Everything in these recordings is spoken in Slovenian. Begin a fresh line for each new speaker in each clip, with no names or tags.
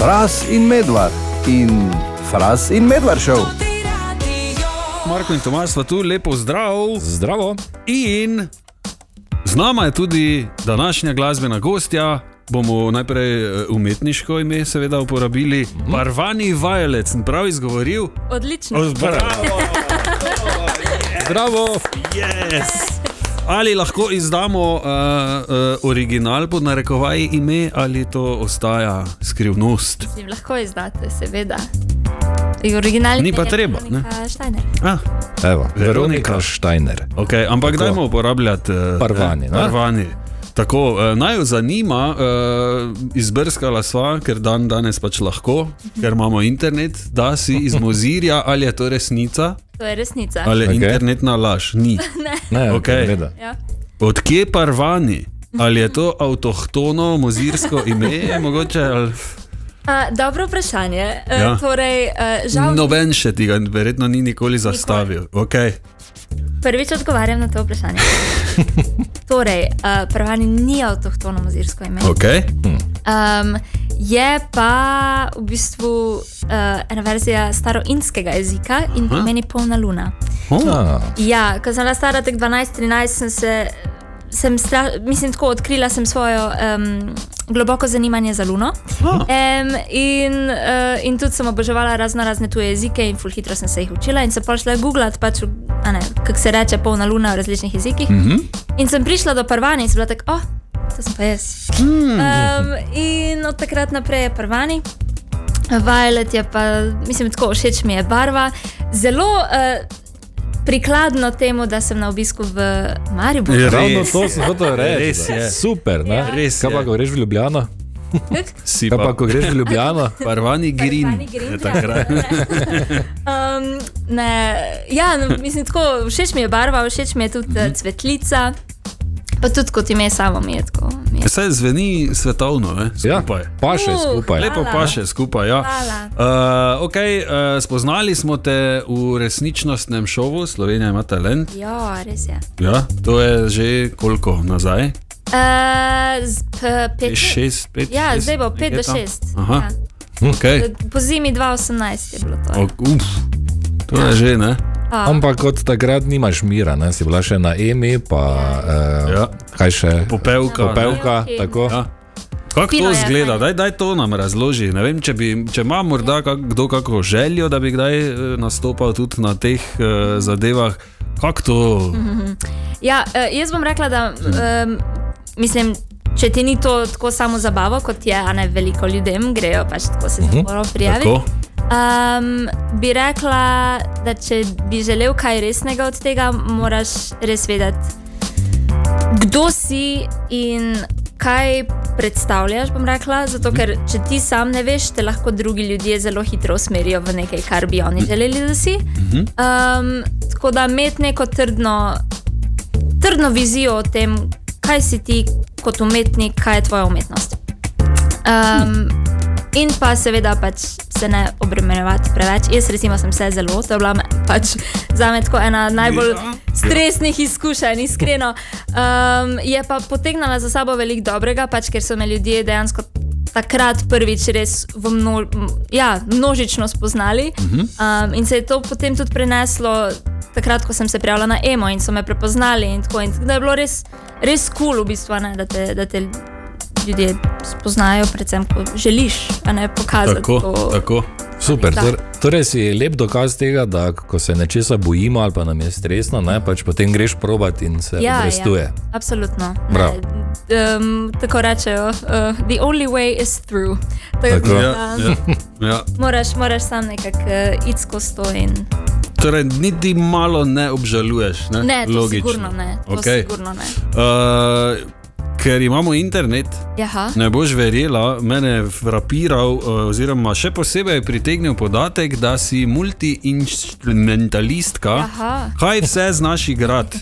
Fras in medvard in fras in medvard šov.
Marko in Tomaš sta tu lepo zdrav.
Zdravo.
In z nama je tudi današnja glasbena gostja. Bomo najprej eh, umetniško ime, seveda, uporabili.
Mhm.
Marvani Violet, sem prav izgovoril.
Odlično.
Zdravo.
Yes. Ali lahko izdamo uh, uh, original pod narekovaji ime, ali to ostaja skrivnost?
Mislim, lahko izdate, seveda. Originalni
Ni pa treba, ne?
Štajner.
Ah,
Evo,
Veronika.
Veronika Štajner.
okay, ampak
Tako.
dajmo uporabljati uh,
Parvani, ne?
Parvani. Tako, eh, naj jo zanima, eh, izbrskala sva, ker dan danes pač lahko, ker imamo internet, da si iz mozirja, ali je to resnica,
To je resnica.
ali je
Okej.
okay. internetna laž. Ni.
Ne,
Okej.
okay.
Ja.
Odkje parvani? Ali je to avtohtono mozirsko ime, mogoče? Ali...
A, dobro vprašanje.
Ja.
Ja. Torej, eh, žal, no.
Noben še tega, verjetno ni nikoli zastavil. Okay.
prvič odgovarjam na to vprašanje. torej, uh, Prvani ni avtohtono mozirsko ime.
Okay.
Um, je pa v bistvu uh, ena verzija staroindskega jezika in
Aha.
pomeni polna luna.
Oh.
Ah,
Ja, ko sem bila stara tek 12-13, sem se, sem stra, mislim, tako odkrila sem svojo um, globoko zanimanje za Luno.
Ah.
Um, in, uh, in tudi sem oboževala razno razne tuje jezike in ful hitro sem se jih učila in sem pa šla googlati, pač, a ne, kako se reče polna Luna v različnih jezikih. Mm -hmm. In sem prišla do Parvani in sem bila tako, oh, to sem pa jaz.
Hmm.
Um, in od takrat naprej je Parvani. Violet je pa, mislim, tako všeč mi je barva. Zelo uh, prikladno temu, da sem na obisku v Mariboru.
Ja.
ravno
Res
to sem hotel reči.
Res
da.
je.
Super, ne?
Ja.
Res
Kaj
je.
pa, ko greš v Ljubljano?
Si
Kaj pa,
pa
ko greš v Ljubljano?
parvani
Parvani
green.
green,
Je
ja.
takrat.
Um, ne, ja, no, mislim, tako všeč mi je barva, všeč mi je tudi
Mhm.
mm -hmm. cvetlica, pa tudi kot ime samo mi je tako. mi je-
Vse zveni svetovno, ne?
Ja,
skupaj. Ja.
pa še
Uh,
skupaj.
Lepo
Hvala.
pa še skupaj. Ja. Uh, okay, uh, spoznali smo te v resničnostnem šovu, Slovenija ima talent.
Ja, res je.
Ja, to je že koliko nazaj?
Uh, z, p, pet,
Šest, pet,
ja,
šest,
zdaj bo 5 do
nekje tam?
6.
Aha.
Ja.
Okay.
Po zimi 2018 je bilo to. ja.
O, uf, to je že, ne?
A,
Ampak od takrat nimaš mira, ne? si bila še na EMI, pa eh,
Ja.
kaj še?
Popevka. ne?
Popevka,
Popevki.
tako.
Ja. Kako
Fino
to
je,
izgleda?
fajn.
Daj, daj to nam razloži. Ne Vem, če, bi, če ima morda kak, kdo kako željo, da bi kdaj eh, nastopal tudi na teh uh, zadevah, kako to.
ja, eh, jaz bom rekla, da um, mislim. Če ti ni to tako samo zabavo, kot je, a ne veliko ljudem, grejo pač tako se zelo prijaviti.
Tako?
Um, bi rekla, da če bi želel kaj resnega od tega, moraš res vedeti, kdo si in kaj predstavljaš. bom Rekla, zato, ker če ti sam ne veš, te lahko drugi ljudje zelo hitro usmerijo v nekaj, kar bi oni želeli, da si. Um, tako da imeti neko trdno, trdno vizijo o tem, kaj si ti kot umetnik, kaj je tvoja umetnost. Um, in pa seveda pač se ne obremenjevati preveč. Jaz recimo sem se zelo, to je bila me- pač za me tako ena najbolj stresnih izkušenj, iskreno. Um, je pa potegnila za sabo veliko dobrega, pač ker so me ljudje dejansko takrat prvič res v mno, m, ja, množično spoznali. Um, in se je to potem tudi preneslo takrat, ko sem se prijavila na EMO in so me prepoznali. In tako, in tako da je bilo res, res kul, cool v bistvu, a ne, da te. Da te Ljudje spoznajo, predvsem, ko želiš, a ne pokazati.
Tako,
to.
tako.
Super.
Da.
Tor, torej si je lep dokaz tega, da ko se nečesa bojimo ali pa nam je stresno, ne, pač potem greš probat in se ja, obrestuje. Ja.
Absolutno.
Bravo.
Um, tako rečejo, uh, the only way is through. Tako,
Tako.
tako.
Ja,
Da,
ja, ja.
moraš, moraš sam nekako uh, iti skozi to. In...
Torej, niti malo ne obžaluješ. Ne,
Ne, to
Logično.
sigurno ne. To
Okej.
sigurno ne.
Uh, ker imamo internet,
Jaha.
Ne boš verjela, mene je frapiral, eh, oziroma še posebej pritegnil podatek, da si multi-instrumentalistka.
Aha.
Kaj vse znaš igrati?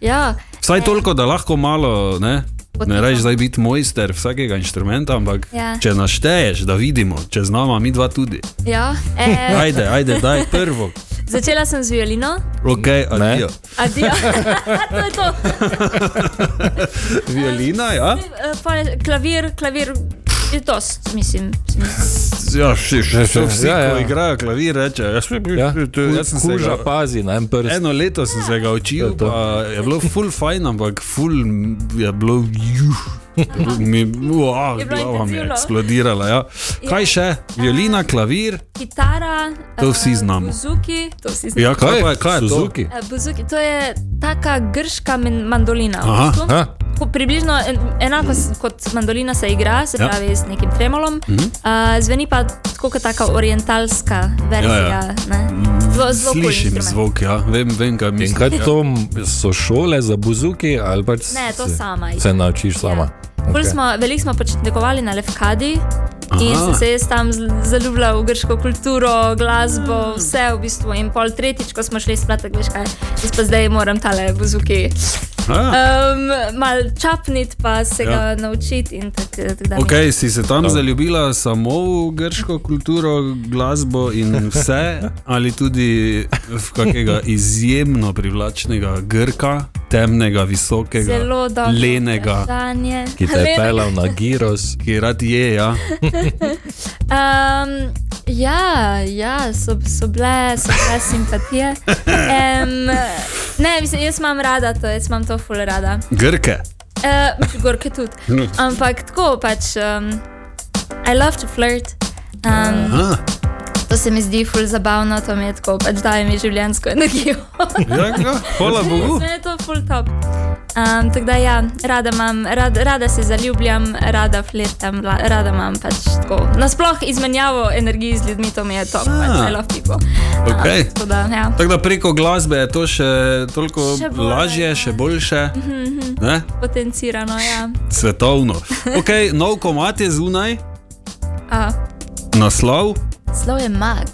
Ja,
Vsaj toliko, da lahko malo, ne, ne
Potiho.
rečeš, da je biti mojster vsakega inštrumenta, ampak
Ja.
če našteješ, da vidimo, če znamo, mi dva tudi.
ja. E,
Ajde, ajde, daj prvo.
začela sem z violino,
Ok, adijo.
adijo. to je to.
Violina, ja?
Eh, pol je Klavir, klavir. je dost, mislim.
Ja, še še
še,
še vsi,
ja, ja.
ko igrajo klavir, reče, jaz,
Ja.
jaz sem se
Kuža
ga-
pazi na en prst.
Eno leto sem se ga
To
učil,
je to.
pa je bilo ful fajn, ampak ful je bilo juh. Mi, uah,
Je bilo
glava mi je
intenzivno.
eksplodirala. Ja. Kaj še? Violina, klavir,
Kitara,
To
eh,
vsi znamo.
Buzuki, to vsi znamo.
ja, kaj, pa je, kaj je to?
Suzuki?
Eh, Buzuki, to je taka grška men- mandolina. v
Aha,
bistvu.
Ha?
Ko približno en, enako s- kot mandolina se igra, se
Ja. Mhm.
pravi s nekim tremolom, uh -huh. uh, zveni pa tako kot taka orientalska verzija.
Ja, ja.
ne. Zelo, zelo kul
Slišim
instrument.
zvok, ja. vem, vem kaj
In
mislim.
kaj to m- so šole za buzuki ali pač
Ne, to
se-
sama Ja.
Se naučiš sama.
Bolj
Ok.
Smo, veliko smo počitnikovali na Levkadi in
Aha.
sem se jaz tam z- zaljubila v grško kulturo, glasbo,
Mm.
vse v bistvu. In pol tretjič, ko smo šli splat, veš kaj, jaz pa zdaj moram tale buzuki
Ah,
um, mal čapniti, pa se
Ja.
ja. ga naučiti in tako tak dalje.
ok, si se tam zaljubila samo v grško kulturo, glasbo in vse, ali tudi v kakega izjemno privlačnega Grka, temnega, visokega,
Zelo dobro.
lenega.
vprašanje.
Ki te je pelal na Giros.
ki rad je. Ja.
Um, ja, ja so, so bile, so bile simpatije. Um, ne, mislim, jaz imam rada to, jaz imam to ful rada.
Grke.
Uh, gorke tudi. Ampak tako pač, um, I love to flirt. Um,
Ah,
to se mi zdi ful zabavno, to mi je tako, pač daje mi življensko energijo.
ja, ja, hvala Bogu.
Mene je to ful top. Um, tako da ja, rada, imam, rad, rada se zaljubljam, rada flirtam, la- rada imam pač tako. Nasploh izmenjavo energij z ljudmi, to mi je top,
Ah.
pač I love people.
Okej.
Um, tako da, ja.
Tako da preko glasbe je to še toliko
Še Mhm, bolj,
lažje,
ja.
še boljše. Ne?
Potencirano, ja.
Svetovno. Okay, nov komat je zunaj,
Uh,
naslov.
Slov je mag.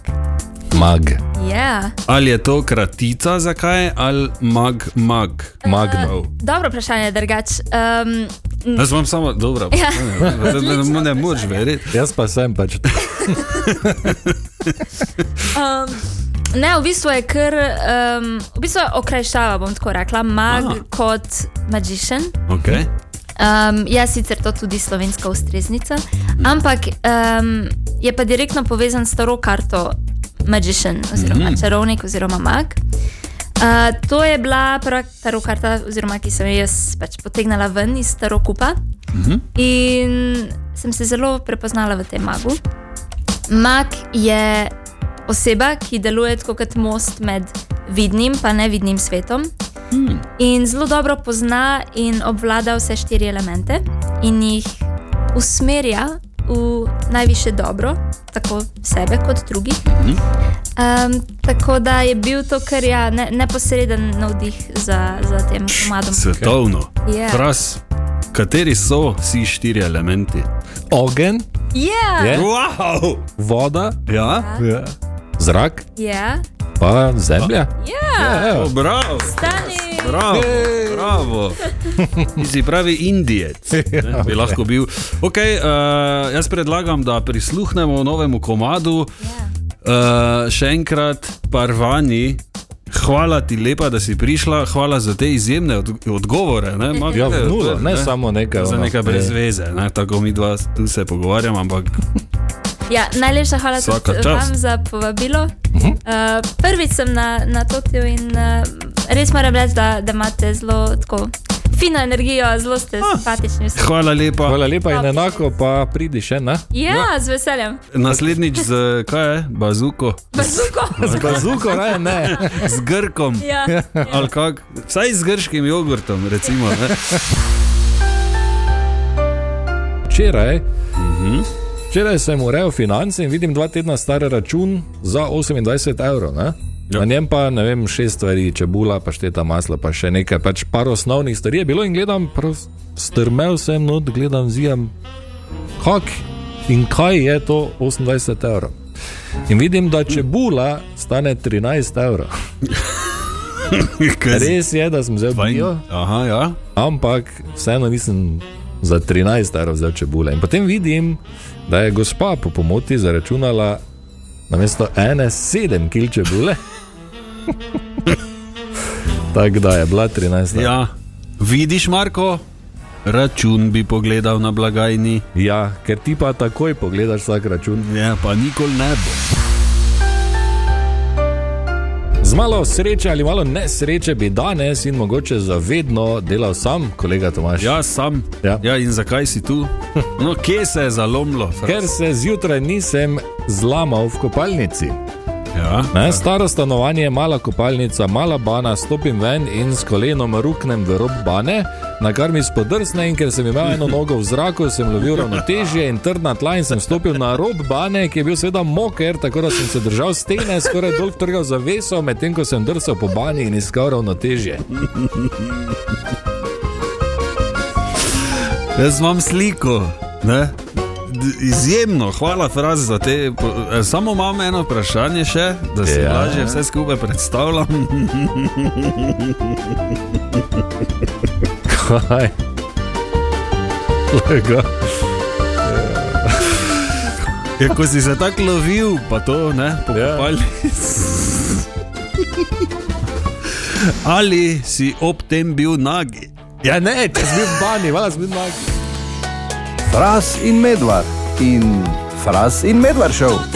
Mag.
Yeah.
Ali je to kratica, zakaj, ali mag, mag.
Magno.
Eh, Dobro vprašanje, drugač. Um, n-
Jaz imam samo dobro, Mm. ja. ne, ne, ne, ne moreš verjeti.
Jaz pa sem pač.
um, ne, v bistvu je kar, um, v bistvu je okrajšava, bom tako rekla, mag
Aha.
kot magician.
Okay.
Um, je sicer to tudi slovenska ustreznica, ampak um, je pa direktno povezan s staro karto Magician, oziroma mm. čarovnik, oziroma mag. Uh, to je bila prva staro karta, oziroma ki sem jo jaz pač potegnila ven iz staro kupa. Mm -hmm. In sem se zelo prepoznala v tem magu. Mag je oseba, ki deluje tako kot most med vidnim in nevidnim svetom in zelo dobro pozna in obvlada vse štiri elemente in jih usmerja v najviše dobro, tako sebe kot drugih. Um, tako da je bil to kar ja, ne, neposreden navdih za, za tem komadom.
Svetovno.
Ja.
Fras, kateri so vsi štiri elementi?
Ogen,
Ja,
Je.
Wow!
voda,
Ja,
ja. zrak,
ja,
pa zemlja. Ja,
ja,
evo.
oh, bravo.
stani.
Bravo, bravo. Ti si pravi Indijec, ne, bi lahko bil. Okay, uh, jaz predlagam, da prisluhnemo novemu komadu.
Ja.
Uh, še enkrat, Parvani, hvala ti lepa, da si prišla, hvala za te izjemne od odgovore. Ne, Mak-
Ja, v
to
nulo,
je,
ne samo no. nekaj.
Za
ono,
nekaj brez veze, ne? tako mi dva tu se pogovarjamo, ampak
Ja, najlepša hvala tudi
Vsaka čast.
vam za povabilo. Uh -huh. uh, prvič sem na, na Totiju in uh, res moram reči, da, da imate zelo tako fino energijo, zelo ste simpatični. vsi.
hvala lepa.
Hvala lepa in enako pa pridi še, ne?
Ja, ja, z veseljem.
Naslednč z kaj je, bazuko,
Bazuko.
Z bazuko, ne, ne.
z grkom.
ja.
Ali kak, vsaj z grškim jogurtom, recimo. Ne?
Včeraj, včeraj sem urejal finance in vidim dva tedna star račun za 28 evrov. Ne?
Ja.
Na njem pa ne vem, šest stvari, čebula, pašteta, maslo, pa še nekaj, pač par osnovnih stvari je bilo in gledam, prav strmel sem not, gledam, zjem, kak in kaj je to 28 evrov. In vidim, da čebula stane 13 evrov.
Kaj
Res je, da sem vzel bio,
Aha, ja.
Ampak vseeno nisem za 13 evrov vzel čebule. In potem vidim, da je gospa po pomoti zaračunala na mesto ene sedem kil čebule. Tako da je bila 13 evrov.
ja. Vidiš, Marko, Račun bi pogledal na blagajni,
Ja, ker ti pa takoj pogledaš vsak račun.
ja, pa nikoli ne bo.
Z malo sreče ali malo nesreče bi danes in mogoče zavedno delal sam, kolega Tomaš.
Ja, sam.
Ja.
ja, in zakaj si tu? No, kje se je zalomilo?
Ker se zjutraj nisem zlamal v kopalnici.
Ja.
Ne, staro stanovanje, mala kopalnica, mala bana, stopim ven in s kolenom ruknem v rob bane, na kar mi spodrsne in ker sem imel eno nogo v zraku, sem lovil ravnotežje in trdna tla in sem stopil na rob bane, ki je bil seveda moker, tako da sem se držal stene, skoraj dol trgal zaveso, medtem ko sem drsal po bani in iskal ravnotežje.
Jaz imam sliko. Ne? D- Izjemno, hvala Fraz za te. po- eh, Samo imam eno vprašanje še, da si
Ja.
ja. lažje vse skupaj predstavljam.
Kaj? Lega.
Ja, ko si se tako lovil, pa to ne, pokopali. Ja. Ali si ob tem bil nagi?
Ja, ne, če si bil v bani, vala si bil nagi.
Fras in Medvard in Fras in Medvard šel.